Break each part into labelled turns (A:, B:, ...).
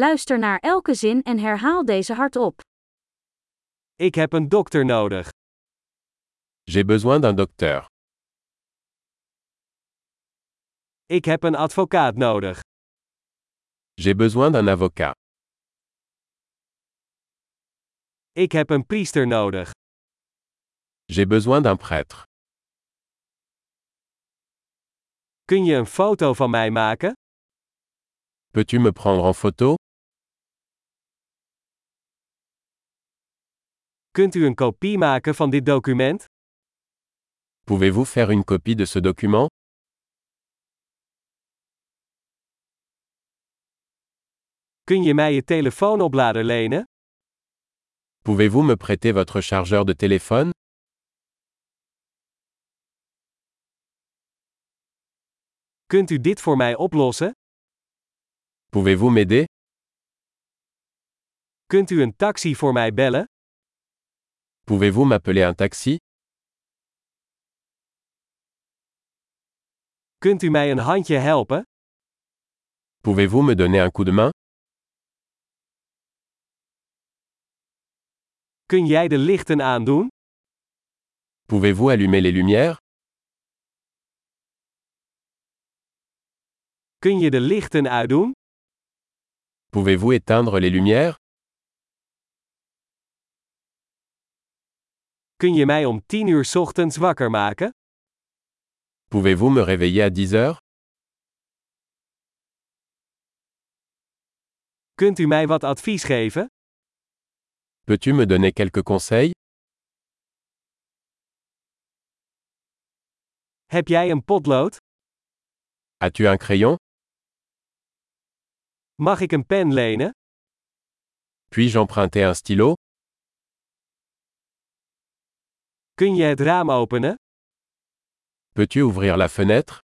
A: Luister naar elke zin en herhaal deze hardop.
B: Ik heb een dokter nodig.
C: J'ai besoin d'un docteur.
B: Ik heb een advocaat nodig.
C: J'ai besoin d'un avocat.
B: Ik heb een priester nodig.
C: J'ai besoin d'un prêtre.
B: Kun je een foto van mij maken?
C: Peux-tu me prendre en photo
B: Kunt u een kopie maken van dit document?
C: Pouvez-vous faire une copie de ce document
B: Kun je mij je telefoonoplader lenen?
C: Pouvez-vous me prêter votre chargeur de téléphone
B: Kunt u dit voor mij oplossen?
C: Pouvez-vous m'aider
B: Kunt u een taxi voor mij bellen?
C: Pouvez-vous m'appeler un taxi
B: Kunt u mij een handje helpen?
C: Pouvez-vous me donner un coup de main
B: Kun jij de lichten aandoen?
C: Pouvez-vous allumer les lumières
B: Kun je de lichten uitdoen?
C: Pouvez-vous éteindre les lumières
B: Kun je mij om 10 uur 's ochtends wakker maken?
C: Pouvez-vous me réveiller à 10 heures
B: Kunt u mij wat advies geven?
C: Peux-tu me donner quelques conseils
B: Heb jij een potlood?
C: As-tu un crayon
B: Mag ik een pen lenen?
C: Puis-je emprunter un stylo
B: Kun je het raam openen?
C: Peux-tu ouvrir la fenêtre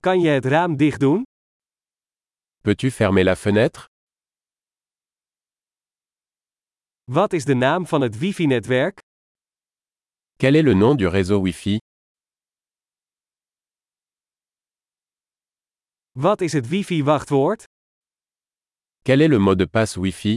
B: Kan je het raam dicht doen?
C: Peux-tu fermer la fenêtre
B: Wat is de naam van het wifi-netwerk?
C: Quel est le nom du réseau Wi-Fi
B: Wat is het wifi-wachtwoord?
C: Quel est le mot de passe Wi-Fi